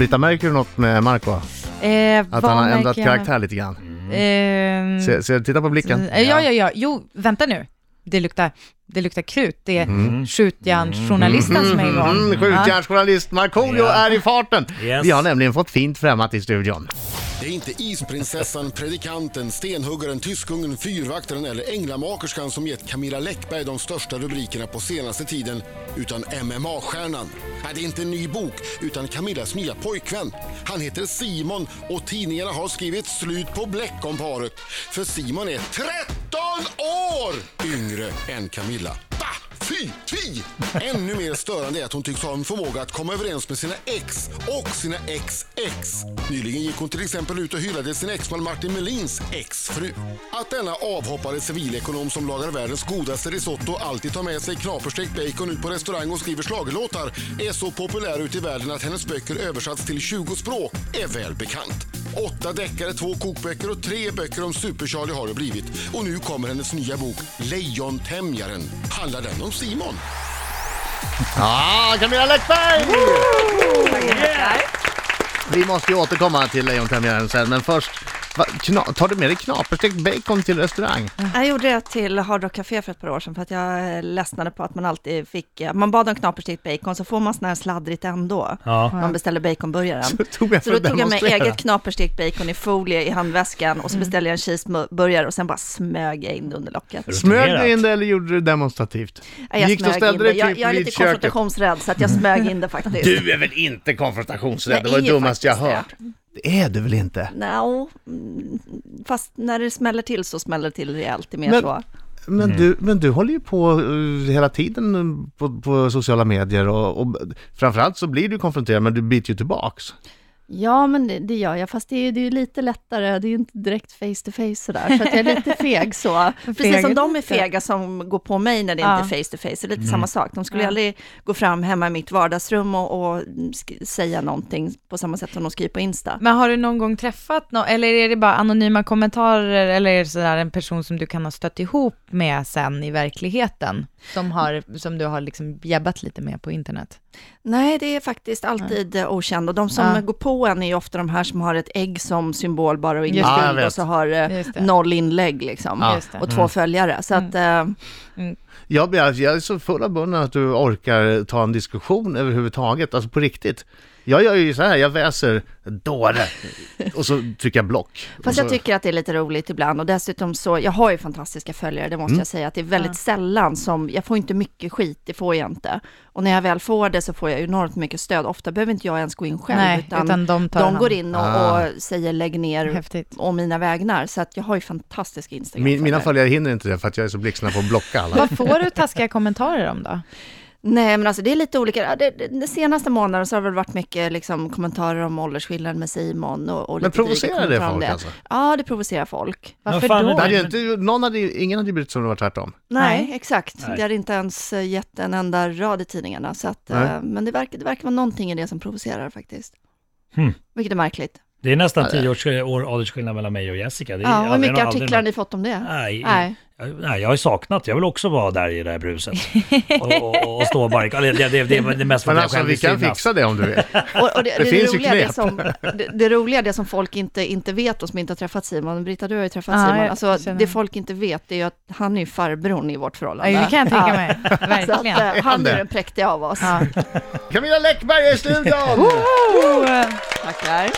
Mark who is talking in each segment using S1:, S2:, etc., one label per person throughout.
S1: Britta, märker du något med Marco?
S2: Eh,
S1: Att
S2: vad
S1: han har
S2: märker
S1: ändrat
S2: jag?
S1: karaktär lite grann?
S2: Ehm,
S1: Se, se, titta på blicken.
S2: eh,
S3: Mm,
S2: ja, ja, ja. Jo, vänta nu. Det luktar, det luktar krut. Det är skjutjärnsjournalisten som är igång.
S1: Mm,
S2: Ja.
S1: Skjutjärnsjournalist Markoolio
S4: Ja.
S1: är i farten!
S4: Yes.
S1: Vi har nämligen fått fint främmat i studion.
S5: Det är inte isprinsessan, predikanten, stenhuggaren, tyskungen, fyrvaktaren eller änglamakerskan som gett Camilla Läckberg de största rubrikerna på senaste tiden, utan MMA-stjärnan. Nej, det är inte en ny bok, utan Camillas nya pojkvän. Han heter Simon och tidningarna har skrivit slut på bläck om paret. För Simon är 13 år yngre än Camilla. Bah! Fy, fy! Ännu mer störande är att hon tycks ha en förmåga att komma överens med sina ex och sina ex ex. Nyligen gick hon till exempel ut och hyllade sin exman Martin Melins exfru. Att denna avhoppade civilekonom som lagar världens godaste risotto alltid tar med sig knaperstekt bacon ut på restaurang och skriver schlagerlåtar är så populär ute i världen att hennes böcker översatts till 20 språk är välbekant. Åtta deckare, två kokböcker och tre böcker om Super-Charlie har det blivit. Och nu kommer hennes nya bok Lejontämjaren. Handlar den om Simon?
S1: Ja, Camilla Läckberg!
S4: Yeah.
S1: Vi måste ju återkomma till Lejonpremiären sen, men först... Va, kna, tar du med dig knaperstekt bacon till restaurang?
S3: Jag gjorde det till Hard Rock Café för ett par år sedan för att jag eh, ledsnade på att man alltid fick, eh, man bad om knaperstekt bacon så får man sån här sladdrigt ändå.
S4: Ja.
S3: Man beställer baconburgaren.
S1: Så tog jag för
S3: Så då
S1: att
S3: tog jag med
S1: demonstrera.
S3: eget knaperstekt bacon i folie i handväskan och så beställde jag en cheeseburgare och sen bara smög jag in det under locket.
S1: Smög du in det eller gjorde du det demonstrativt?
S3: Ja, Jag
S1: Gick du och
S3: smög in
S1: ställde
S3: det.
S1: dig
S3: Jag,
S1: typ
S3: jag är
S1: vid
S3: lite
S1: köket?
S3: konfrontationsrädd så att jag smög in det faktiskt.
S1: Du är väl inte konfrontationsrädd? Det
S3: Nej,
S1: var det dummaste jag
S3: faktiskt
S1: hört. Det är du väl inte?
S3: No, fast när det smäller till så smäller det till rejält, det är mer
S1: Men-
S3: så.
S1: Men,
S4: Mm.
S1: du, men du håller ju på eh, hela tiden eh, på, på sociala medier och, och framförallt så blir du konfronterad men du biter ju tillbaks.
S6: Ja, men det, det gör jag, fast det är, det är ju lite lättare, det är ju inte direkt face to face sådär, så att jag är lite feg så.
S3: Precis som
S2: Feg.
S3: de är fega som går på mig när det
S2: Ja.
S3: inte är face to face, det är
S1: Mm.
S3: lite samma sak. De skulle aldrig gå fram hemma i mitt vardagsrum och, och sk- säga någonting på samma sätt som de skriver på Insta.
S2: Men har du någon gång träffat någon, eller är det bara anonyma kommentarer, eller är det sådär en person som du kan ha stött ihop med sen i verkligheten, som, har, som du har liksom jabbat lite med på internet?
S3: Nej, det är faktiskt alltid eh, okänd och de som
S2: Ja.
S3: går på en är ju ofta de här som har ett ägg som symbol bara och ingen
S2: Just
S1: det. Ja, jag
S3: bild
S1: vet.
S3: och så har eh,
S2: Just det.
S3: noll inlägg liksom
S1: Ja. Mm.
S2: Just det.
S3: och två följare. Så att,
S6: Mm.
S3: eh,
S1: Jag, blir, alltså, jag är så full av bunnen att du orkar ta en diskussion överhuvudtaget, alltså på riktigt. Jag gör ju så här, jag väser dåre och så trycker jag block. Och
S3: Fast
S1: så,
S3: jag tycker att det är lite roligt ibland och dessutom så, jag har ju fantastiska följare, det måste
S1: Mm.
S3: jag säga, att det är väldigt sällan som, jag får inte mycket skit, det får jag inte. Och när jag väl får det så får jag enormt mycket stöd, ofta behöver inte jag ens gå in själv,
S2: Nej,
S3: utan,
S2: utan de tar hand.
S3: går in och,
S1: Ah.
S3: och säger lägg ner
S2: Häftigt.
S3: å mina vägnar, så att jag har ju fantastiska Instagram.
S1: Min, mina följare hinner inte det för att jag är så blixtsnabb på att blocka alla.
S2: Vad får du taskiga kommentarer om då?
S3: Nej, men alltså det är lite olika. Ja, Det, det, den senaste månaden så har det väl varit mycket liksom, kommentarer om åldersskillnaden med Simon och, och
S1: Men
S3: lite dryga
S1: provocerar det
S3: kommentarer om
S1: folk alltså?
S3: Ja, det provocerar folk.
S2: Varför
S4: fan är
S2: då?
S1: Det hade ju inte, någon hade, ju- ingen hade ju brytt sig om det var tvärtom.
S3: Nej,
S2: Nej.
S3: exakt.
S4: Nej.
S3: Det har inte ens eh, gett en enda rad i tidningarna. Så att,
S1: Nej.
S3: eh, men det verkar, det verkar vara någonting i det som provocerar faktiskt.
S4: Hmm.
S3: Vilket är märkligt.
S4: Det är nästan tio års, år åldersskillnad mellan mig och Jessica. Det är
S3: Ja, hur
S4: aldrig-
S3: mycket
S4: aldrig
S3: artiklar har
S4: något-
S3: ni fått om det?
S4: Nej,
S3: Nej.
S4: nej, jag har ju saknat. Jag vill också vara där i det här bruset. och, och, och stå bara i... eller Det, det, det, det är mest för
S1: Men
S4: att
S1: alltså
S4: jag
S1: vi kan
S4: själv är
S1: fixa det om du vill.
S3: Och, och det,
S1: Det
S3: det,
S1: finns ju
S3: roliga, är
S1: knep.
S3: det, som, det, det roliga är det som folk inte, inte vet och som inte har träffat Simon. Britta, du har ju träffat
S2: Ja,
S3: Simon.
S2: jag
S3: Alltså,
S2: känner.
S3: det folk inte vet är ju att han är ju farbrorn i vårt förhållande.
S2: Ja, det kan jag tänka mig,
S3: Så att,
S2: verkligen.
S3: eh, han
S1: det?
S3: är den präktiga av oss.
S2: Ja.
S1: Camilla Läckberg är i studion!
S2: Oh, eh,
S3: Tackar.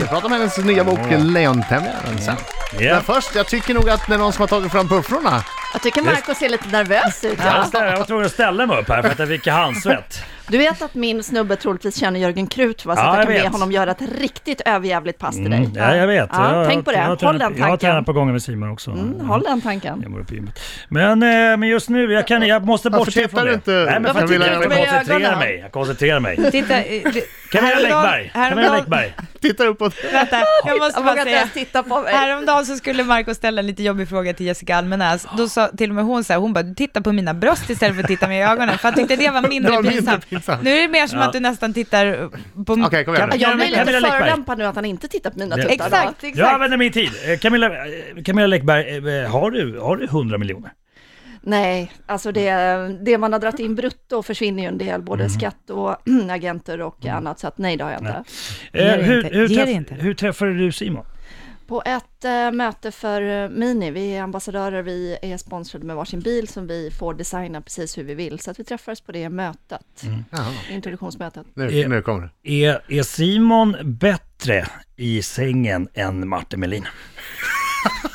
S1: Vi pratar om hennes nya bok Lejontämjaren sen. Men
S4: Ja,
S1: först, jag tycker nog att det är någon som har tagit fram puffrorna.
S3: Jag tycker Marco ser lite nervös ut.
S4: jag ställer- jag var tvungen att ställa mig upp här för att jag fick handsvett.
S3: Du vet att min snubbe troligtvis känner Jörgen Krut va? Så
S4: Ja,
S3: att
S4: jag
S3: jag kan be
S4: vet.
S3: honom göra ett riktigt överjävligt pass till dig.
S4: Mm, Ja, jag vet.
S3: Ja,
S4: jag,
S3: tänk på det.
S4: Jag, har
S3: Håll
S4: tränat-
S3: den
S4: Jag har tränat
S3: tanken.
S4: på gången med Simon också.
S3: Mm, håll den tanken.
S4: Jag mår upp i gymmet. Men, eh, men just nu, jag, kan, jag måste
S1: Varför
S4: bortse
S1: tittar
S4: från
S1: du
S4: det.
S1: inte?
S4: Nej, men för
S1: Varför
S4: att jag,
S1: tittar du
S4: jag
S3: inte med
S4: koncentrerar
S3: ögonen?
S4: mig. Jag koncentrerar mig.
S2: Titta, eh, det-
S4: Camilla
S2: häromdagen-
S4: Läckberg. Camilla
S2: häromdagen-
S4: Läckberg.
S1: Tittar uppåt.
S2: Vänta, jag måste
S3: Jag
S2: bara
S3: vågar inte
S2: säga.
S3: ens titta på mig.
S2: Häromdagen så skulle Marco ställa en lite jobbig fråga till Jessica Almenäs. Då sa till och med hon så här, hon bara, du tittar på mina bröst istället för att titta mig i ögonen. För jag tyckte det var
S1: Det var
S2: mindre
S1: mindre
S2: pinsamt.
S1: pinsamt.
S2: Nu är det mer som att du nästan tittar på...
S1: Okej, kom igen nu.
S3: Jag blir
S4: Camilla
S3: lite
S4: Läckberg.
S3: förolämpad nu att han inte tittar på mina
S4: Ja.
S3: tuttar. va?
S2: Exakt,
S4: Jag
S2: exakt.
S4: eh, använder min tid. Eh, Camilla, eh, Camilla Läckberg, eh, har du, har du 100 miljoner?
S3: Nej, alltså det, det man har dragit in brutto försvinner ju en del, både
S4: Mm.
S3: skatt och agenter och annat, så att nej, det har jag inte.
S2: Ge det
S4: Eh, hur,
S2: inte,
S4: hur,
S2: ge
S4: träff,
S2: det inte.
S4: hur träffade du Simon?
S3: På ett eh, möte för eh, Mini, vi är ambassadörer, vi är sponsrade med varsin bil som vi får designa precis hur vi vill, så att vi träffades på det mötet,
S4: Mm.
S1: Jaha.
S3: introduktionsmötet.
S1: Nu, nu kommer det.
S4: Är, är Simon bättre i sängen än Martin Melin?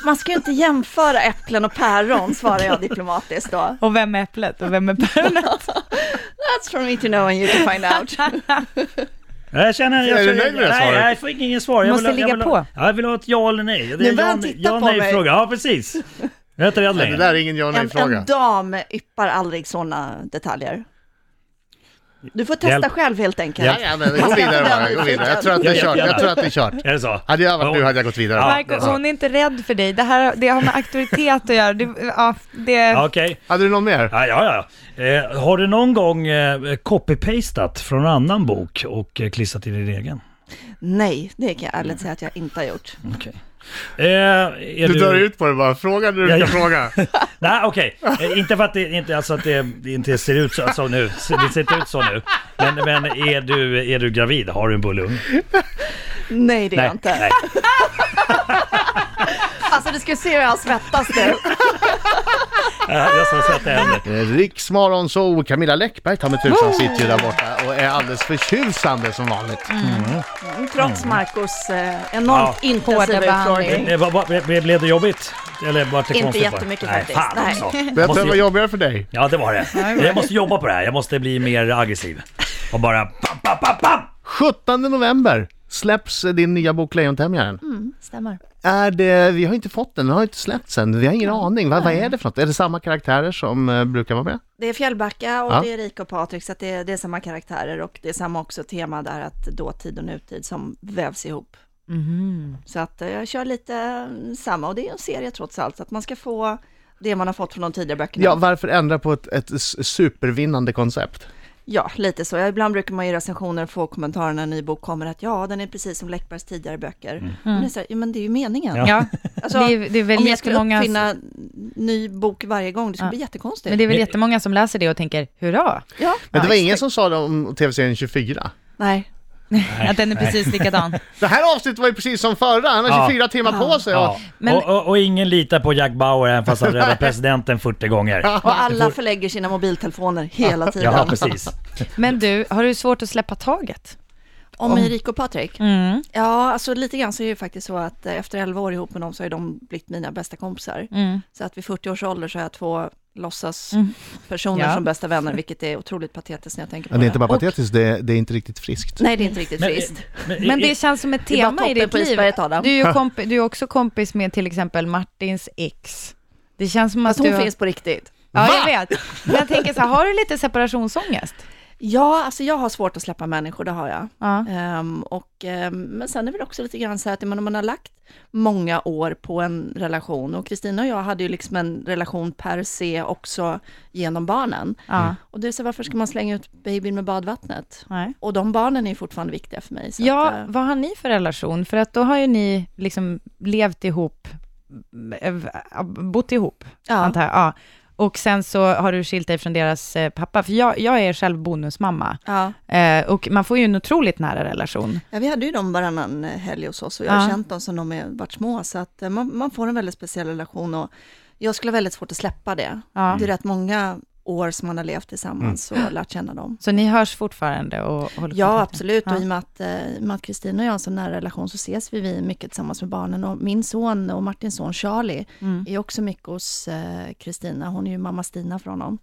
S3: Man ska ju inte jämföra äpplen och päron, svarar jag diplomatiskt då.
S2: Och vem är äpplet och vem är päronet?
S3: That's for me to know and you to find out.
S4: Jag känner... Jag
S1: Är du
S4: känner-
S1: nöjd med det
S4: nej,
S1: svaret?
S4: Nej, jag får ingen svar. Jag
S2: Måste
S4: ha- jag
S2: ligga
S4: vill ha-
S2: på.
S4: Ja, jag vill ha ett ja eller nej. Det är
S3: Nu börjar
S4: ja-
S3: han titta
S4: ja,
S3: på
S4: nej
S3: mig.
S4: Fråga. Ja, precis. Jag är inte rädd
S1: Nej, det där
S4: längre.
S1: är ingen ja nej
S3: En,
S1: fråga.
S3: en dam yppar aldrig sådana detaljer. Du får testa
S4: Hjälp.
S3: själv helt enkelt.
S1: Ja, ja, men gå vidare bara, gå vidare. Jag tror att det är kört, jag tror att det är kört.
S4: Är det så?
S1: Hade jag varit du hade jag gått vidare.
S4: Ja, det är
S2: Marco,
S4: sant.
S2: hon är inte rädd för dig. Det här det har med auktoritet att göra. Det, ja, det,
S4: Okej.
S1: Hade du någon mer?
S4: Ja, ja, ja. Eh, har du någon gång eh, copy-pastat från en annan bok och eh, klistrat i din egen?
S3: Nej, det kan jag ärligt säga att jag inte har gjort.
S4: Okej. Eh, är
S1: Du drar ut på det bara, fråga när
S4: Ja,
S1: du
S4: ja.
S1: ska fråga.
S4: Nej, okej. Eh, inte för att, det, inte, alltså att det, det inte ser ut så, så nu. Det ser inte ut så nu. Men, men är, du, är du gravid? Har du en bullung?
S3: Nej, det är jag inte.
S4: nej.
S3: Alltså du ska se hur jag svettas nu.
S4: Eh, Jag ska sätta händer.
S1: Eh, Riksmorgon så Camilla Läckberg ta mig tusan sitter ju där borta och är alldeles förtjusande som vanligt.
S4: Mm.
S3: Trots Marcos eh, enormt intensiva
S2: Hårda behandling.
S3: utfrågning.
S4: Eh, vad- vad- ble- Blev det jobbigt? Eller var det
S3: Inte
S4: konstigt? bara?
S3: jättemycket
S4: nej,
S3: faktiskt.
S4: Fan
S3: Nej.
S4: också.
S1: Vet du
S4: Måste-
S1: vad var jobbigare för dig?
S4: Ja, det var det. Jag måste jobba på det här. Jag måste bli mer aggressiv. Och bara... Pam, pam, pam, pam.
S1: 17 november släpps eh, din nya bok Lejontämjaren.
S2: stämmer.
S1: Är det, vi har inte fått den, den har inte släppts än, vi har ingen aning. Vad, vad är det för något? Är det samma karaktärer som eh, brukar vara med?
S3: Det är Fjällbacka och
S1: Ja.
S3: det är Erika och Patrik, så att det, är, det är samma karaktärer och det är samma också tema där att dåtid och nutid som vävs ihop.
S2: Mhm.
S3: Så att eh, jag kör lite eh, samma och det är en serie trots allt, så att man ska få det man har fått från de tidigare böckerna.
S1: Ja, varför ändra på ett, ett s- supervinnande koncept?
S3: Ja, lite så. Ja, Ibland brukar man i recensioner få kommentarer när en ny bok kommer att ja, den är precis som Läckbergs tidigare böcker. Men, det är så här, ja, men det är ju meningen.
S4: Ja.
S2: Mm. Ja,
S3: Alltså,
S2: det är, det är väl
S3: Om jag skulle
S2: jättemånga...
S3: uppfinna ny bok varje gång, det skulle bli jättekonstigt.
S2: Men det är väl jättemånga som läser det och tänker hurra,
S3: ja.
S1: Men det var
S3: Ja,
S1: ingen
S3: exakt.
S1: som sa det om tv-serien 24.
S3: Nej,
S2: att den är precis likadan.
S1: Det här avsnittet var ju precis som förra, han
S4: Ja.
S1: har 24 timmar på sig.
S4: Ja.
S1: Ja.
S2: Men-
S4: Och, och, och ingen litar på Jack Bauer även fast han räddade presidenten 40 gånger.
S3: och alla förlägger sina mobiltelefoner hela tiden.
S4: Ja, precis.
S2: Men du, har du svårt att släppa taget?
S3: Om Erika och Patrik? Ja, alltså lite grann så är det ju faktiskt så att eh, efter 11 år ihop med dem så har ju de blivit mina bästa kompisar. Så att vid 40 års ålder så har jag två låtsas personer
S2: Ja.
S3: som bästa vänner, vilket är otroligt patetiskt när jag tänker på
S1: Men
S3: det.
S1: det är inte bara
S2: Och-
S1: patetiskt, det är, det är inte riktigt friskt.
S3: Nej, det är inte riktigt
S4: Men-
S3: friskt.
S2: Men det känns som ett
S3: Det är bara
S2: tema i
S3: toppen
S2: ditt
S3: på
S2: liv.
S3: isberget, Adam.
S2: Du är ju komp- du är också kompis med till exempel Martins ex. Det känns som att
S3: Fast
S2: du...
S3: hon
S2: har-
S3: finns på riktigt.
S2: Ja, jag vet. Men jag tänker så här, har du lite separationsångest?
S3: Ja, alltså jag har svårt att släppa människor, det har jag.
S2: Ja.
S3: Ehm, och, ehm, men sen är det väl också lite grann så här att man, man har lagt många år på en relation och Kristina och jag hade ju liksom en relation per se också genom barnen.
S2: Ja.
S3: Och det är så varför ska man slänga ut babyn med badvattnet?
S2: Nej.
S3: Och de barnen är ju fortfarande viktiga för mig. Så att,
S2: Ja,
S3: eh,
S2: vad har ni för relation? För att då har ju ni liksom levt ihop, eh, bott ihop,
S3: Ja.
S2: antar jag. Ja. Och sen så har du skilt dig från deras eh, pappa, för jag, jag är själv bonusmamma.
S3: ja.
S2: Eh, och man får ju en otroligt nära relation.
S3: ja, vi hade ju dem varannan eh, helg hos oss och jag har
S2: Ja.
S3: känt dem som de är, varit små. Så att eh, man, man får en väldigt speciell relation och jag skulle ha väldigt svårt att släppa det.
S2: Ja.
S3: Det är rätt många år som man har levt tillsammans och lärt känna dem.
S2: Så ni hörs fortfarande och håller
S3: Ja,
S2: kontakten?
S3: absolut.
S2: Ja.
S3: Och i och med att, eh, i och med att Kristina och jag har en så nära relation så ses vi, vi mycket tillsammans med barnen. Och min son och Martins son Charlie är också mycket hos eh, Kristina. Hon är ju mamma Stina för honom.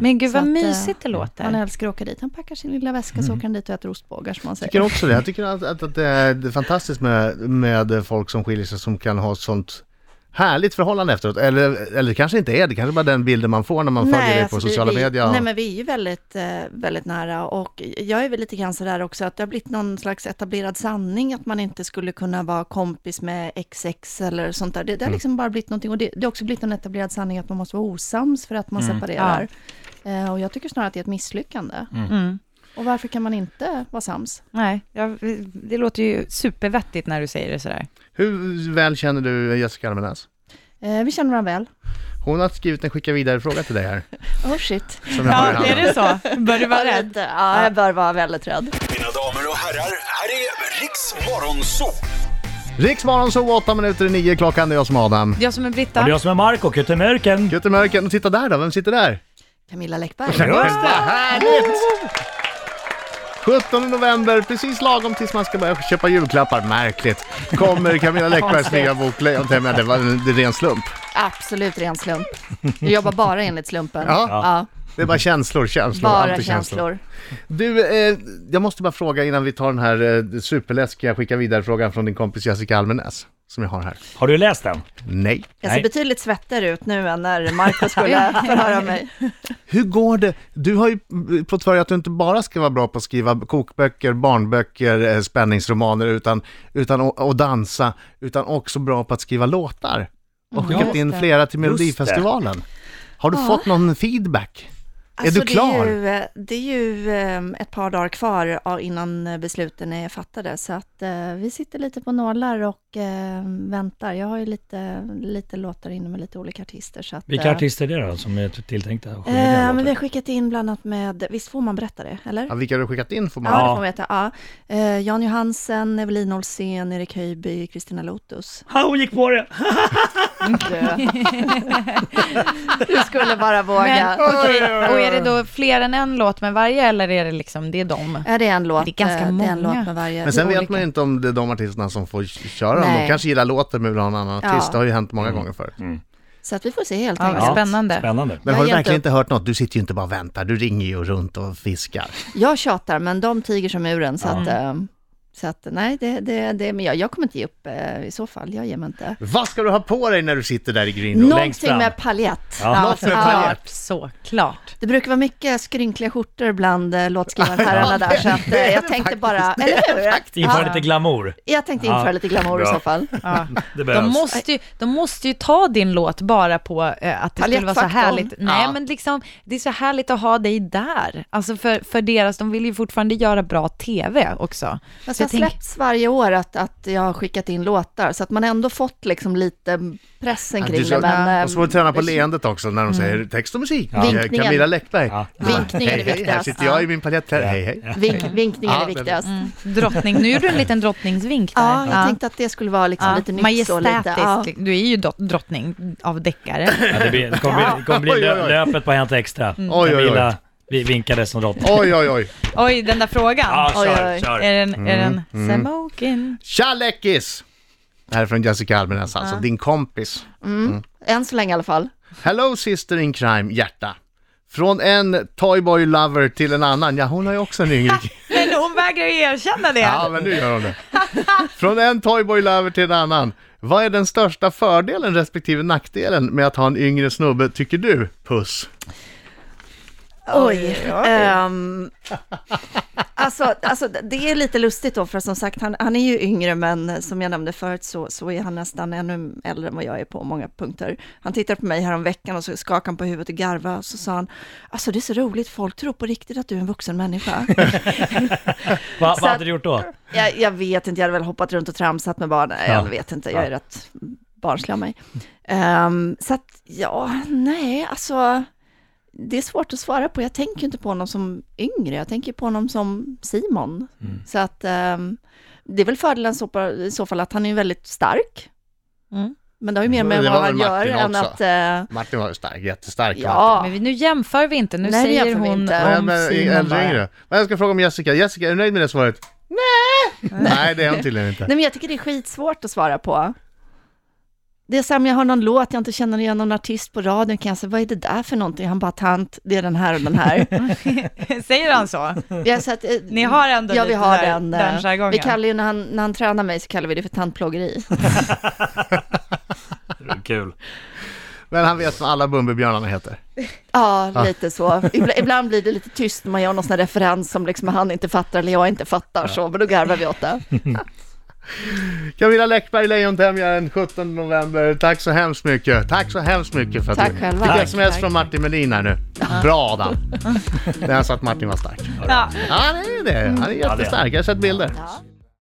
S2: Men gud
S3: Så
S2: vad
S3: att, eh,
S2: mysigt det
S3: Han
S2: låter.
S3: älskar att åka dit. Han packar sin lilla väska så åker han dit och äter ostbågar som han
S1: Jag tycker
S3: säger.
S1: också det. Jag tycker att, att, att det är det är fantastiskt med, med folk som skiljer sig som kan ha ett sånt härligt förhållande efteråt. Eller, eller det kanske inte är, det kanske bara är den bilden man får när man följer dig på
S3: alltså vi-
S1: sociala
S3: vi,
S1: medier.
S3: Nej, men vi är ju väldigt, eh, väldigt nära och jag är väl lite grann sådär också att det har blivit någon slags etablerad sanning att man inte skulle kunna vara kompis med XX eller sånt där. Det,
S1: Mm.
S3: det har liksom bara blivit någonting och det, det har också blivit en etablerad sanning att man måste vara osams för att man
S1: Mm.
S3: separerar. Eh, och jag tycker snarare att det är ett misslyckande.
S2: Mm.
S3: Och varför kan man inte vara sams?
S2: Nej, jag, det låter ju supervettigt när du säger det sådär.
S1: Hur väl känner du Jessica Almenäs?
S3: Eh, vi känner varandra väl.
S1: Hon har skrivit en skicka vidare-fråga till dig här.
S3: Oh shit.
S1: Som jag har i
S2: Ja, är
S1: handen.
S2: det så? Bör du vara rädd?
S3: Ja, jag bör vara väldigt rädd.
S7: Mina damer och herrar, här är Riks Morgonzoo!
S1: Riksmorgon så 8 minuter i 9 klockan, det är jag som är Adam.
S2: Jag som är
S4: Och det är
S2: Britta.
S4: jag som är Marco Kuttemörken.
S1: Göte Mörken, och titta där då, vem sitter där?
S3: Camilla Läckberg.
S1: Just det, härligt! 17 november, precis lagom tills man ska börja köpa julklappar, märkligt, kommer Camilla Läckbergs nya bok Lejontämja. Det var en det är ren slump.
S3: Absolut ren slump. Jag jobbar bara enligt slumpen.
S1: Ja.
S3: ja.
S1: Det är bara känslor, känslor,
S3: Bara
S1: antikänslor.
S3: känslor.
S1: Du, eh, jag måste bara fråga innan vi tar den här eh, superläskiga skicka vidare-frågan från din kompis Jessica Almenäs, som jag har här.
S4: Har du läst den?
S1: Nej.
S3: Jag
S4: Nej.
S3: ser betydligt svettigare ut nu än när Marco skulle förhöra mig.
S1: Hur går det? Du har ju fått för dig att du inte bara ska vara bra på att skriva kokböcker, barnböcker, eh, spänningsromaner utan, utan och, och dansa, utan också bra på att skriva låtar. Och
S4: Mm,
S1: skickat
S4: just
S1: in
S3: det.
S1: flera till
S4: Just det.
S1: Melodifestivalen. Har du fått någon feedback?
S6: Alltså,
S1: är du klar?
S3: Det är ju, eh, det är ju
S6: ehm,
S3: eh, ett par dagar kvar ja, innan eh, besluten är fattade, så att
S6: Att, eh, vi sitter lite på nålar och eh, väntar. Jag har ju lite, lite låtar inne med lite olika artister. Så att,
S4: Vilka
S6: eh,
S4: artister är det då som är tilltänkta att sjunga
S6: Eh, men
S4: den
S6: vi har
S4: låten?
S6: skickat in bland annat med, visst får man berätta det, eller?
S1: Ja, vilka har du skickat in får man
S6: Ja,
S4: Ja.
S6: det får man veta. Ja. Eh, Jan Johansen, Evelina Olsén, Erik Höjby, Kristina Lotus.
S4: Ha, hon gick på det!
S3: du skulle bara
S2: Men,
S3: våga.
S2: okej, Och är det då fler än en låt med varje eller är det liksom, det är dem?
S3: Är det en låt?
S2: Det är ganska
S3: eh, Det är en
S2: många.
S3: låt med varje.
S1: Men sen
S3: olika.
S1: vet man inte om det är de artisterna som får köra dem. De
S3: Nej.
S1: kanske gillar låten men vill ha en annan
S3: Ja.
S1: artist. Det har ju hänt många gånger förut.
S3: Så att vi får se helt
S2: Ja,
S3: enkelt.
S2: Spännande.
S4: Spännande.
S1: Men
S3: Jag
S1: har du
S3: har gett
S1: verkligen
S3: upp.
S1: inte hört något? Du sitter ju inte bara och väntar. Du ringer ju runt och fiskar.
S3: Jag tjatar, men de tiger som muren, så att... eh, Så att nej, det, det, det, men jag, jag kommer inte ge upp eh, i så fall, jag ger mig inte.
S1: Vad ska du ha på dig när du sitter där i green room?
S4: längst fram.
S3: Någonting med paljett.
S4: Ja.
S1: Något med paljett.
S2: Såklart.
S3: Det brukar vara mycket skrynkliga skjortor bland eh, låtskrivarherrarna där, så att eh, jag tänkte bara, eller hur?
S4: Inför
S3: Ja.
S4: lite glamour.
S3: Jag tänkte införa
S4: Ja.
S3: lite glamour i
S4: Bra.
S3: så fall.
S2: Ja.
S4: Det
S2: De
S4: behövs.
S2: måste, ju, de måste ju ta din låt bara på eh, att det skulle vara så
S3: Palettfaktorn.
S2: härligt. Nej,
S3: Ja.
S2: men liksom, det är så härligt att ha dig där. Alltså för, för deras, de vill ju fortfarande göra bra TV också.
S3: Men
S2: Så
S3: sen
S2: jag tänker-
S3: släpps varje år att, att jag har skickat in låtar, så att man ändå fått liksom lite pressen
S1: Ja,
S3: kring
S1: du sa-
S3: det. Mm. Men,
S1: Och så får du träna på
S3: eh,
S1: leendet också när de säger text och musik. Ja.
S3: Vinkningen.
S1: Camilla Läckberg.
S4: Ja.
S3: Vinkningen är
S1: hej, hej, här
S3: viktigast.
S1: sitter jag
S3: Ja.
S1: i min paljett här. Hej, hej.
S3: Vink, vinkningen
S1: Ja,
S3: är viktigast.
S2: Mm. Drottning, nu gjorde du en liten drottningsvink där.
S3: Ja, jag tänkte att det skulle vara liksom
S2: Ja. liksom.
S3: lite nytt och lite... Ja.
S2: Majestätisk, du är ju dot- drottning av deckare.
S4: Ja, det, blir, det kommer bli, det kommer bli
S1: Oj, oj, oj.
S4: löpet på Hänt Extra.
S1: Oj, oj, oj.
S4: Camilla, vi vinkade som drottning.
S1: Oj, oj, oj.
S2: Oj, den där frågan.
S4: Ja,
S3: Oj,
S4: kör,
S3: oj.
S4: kör.
S2: Är den, är den smoking?
S1: Tja läckis! Det här är från Jessica Almenäs, alltså din kompis.
S3: Än så länge i alla fall.
S1: Hello sister in crime, hjärta. Från en toyboy lover till en annan. Ja, hon har ju också en yngre
S2: Men hon vägrar ju erkänna det.
S1: Ja, men nu gör hon det. Från en toyboy lover till en annan. Vad är den största fördelen respektive nackdelen med att ha en yngre snubbe, tycker du? Puss.
S3: Oj. ehm, alltså, alltså, det är lite lustigt då, för som sagt, han, han är ju yngre, men som jag nämnde förut så, så är han nästan ännu äldre än vad jag är på många punkter. Han tittade på mig häromveckan och så skakade han på huvudet och garvade och så sa han, alltså det är så roligt, folk tror på riktigt att du är en vuxen människa.
S4: Va,
S3: Så
S4: vad
S3: att-
S4: hade du gjort då?
S3: jag, jag vet inte, jag hade väl hoppat runt och tramsat med barn. Nej,
S4: Ja.
S3: Jag vet inte, jag är rätt barnslig av mig. Ehm, så att, ja, nej, alltså, det är svårt att svara på. Jag tänker ju inte på honom som yngre, jag tänker på honom som Simon.
S1: Mm.
S3: Så att, ehm, det är väl fördelen så på, i så fall att han är ju väldigt stark.
S2: Mm.
S3: Men det har ju mer med
S1: Det var
S3: vad
S1: väl
S3: han gör
S1: Martin
S3: än
S1: också.
S3: att... eh,
S1: Martin var ju stark, jättestark. Martin.
S3: ja,
S2: Men vi- nu jämför vi inte, nu
S3: Nej, det
S2: säger
S3: jämför vi
S2: hon
S3: inte.
S1: Nej,
S2: om
S1: men,
S2: Simon
S1: äldre,
S2: bara.
S1: yngre. Men jag ska fråga om Jessica. Jessica, är du nöjd med det svaret? Nej! Nej, det är hon tydligen inte.
S3: nej, men jag tycker det är skitsvårt att svara på. Det är så här, om jag har någon låt jag inte känner igen någon artist på radion, kan jag säga, vad är det där för någonting? Han bara, tant, det är den här och den här.
S2: Säger han så?
S3: Ja, så att, eh,
S2: Ni har ändå
S3: ja, vi
S2: lite
S3: har
S2: där-
S3: den, eh,
S2: den jargongen.
S3: Vi kallar ju, när han, när han tränar mig så kallar vi det för tantplågeri.
S4: Kul.
S1: Men han vet vad alla Bumbibjörnarna heter.
S3: ja,
S2: Ah.
S3: lite så. Ibla- ibland blir det lite tyst när man gör någon sån här referens som liksom han inte fattar eller jag inte fattar så, men då garvar vi åt det.
S2: Mm.
S1: Camilla Läckberg, Lejontämja den 17 november. Tack så hemskt mycket. Tack så hemskt mycket för att
S3: Tack
S1: du
S3: själva.
S1: Tack.
S3: Tack.
S1: sms från Martin Melin här nu. Bra Adam! Det är alltså att Martin var stark.
S2: Ja.
S3: Mm.
S1: Ja, det är det. Han är jättestark. Jag har sett bilder.
S3: Ja.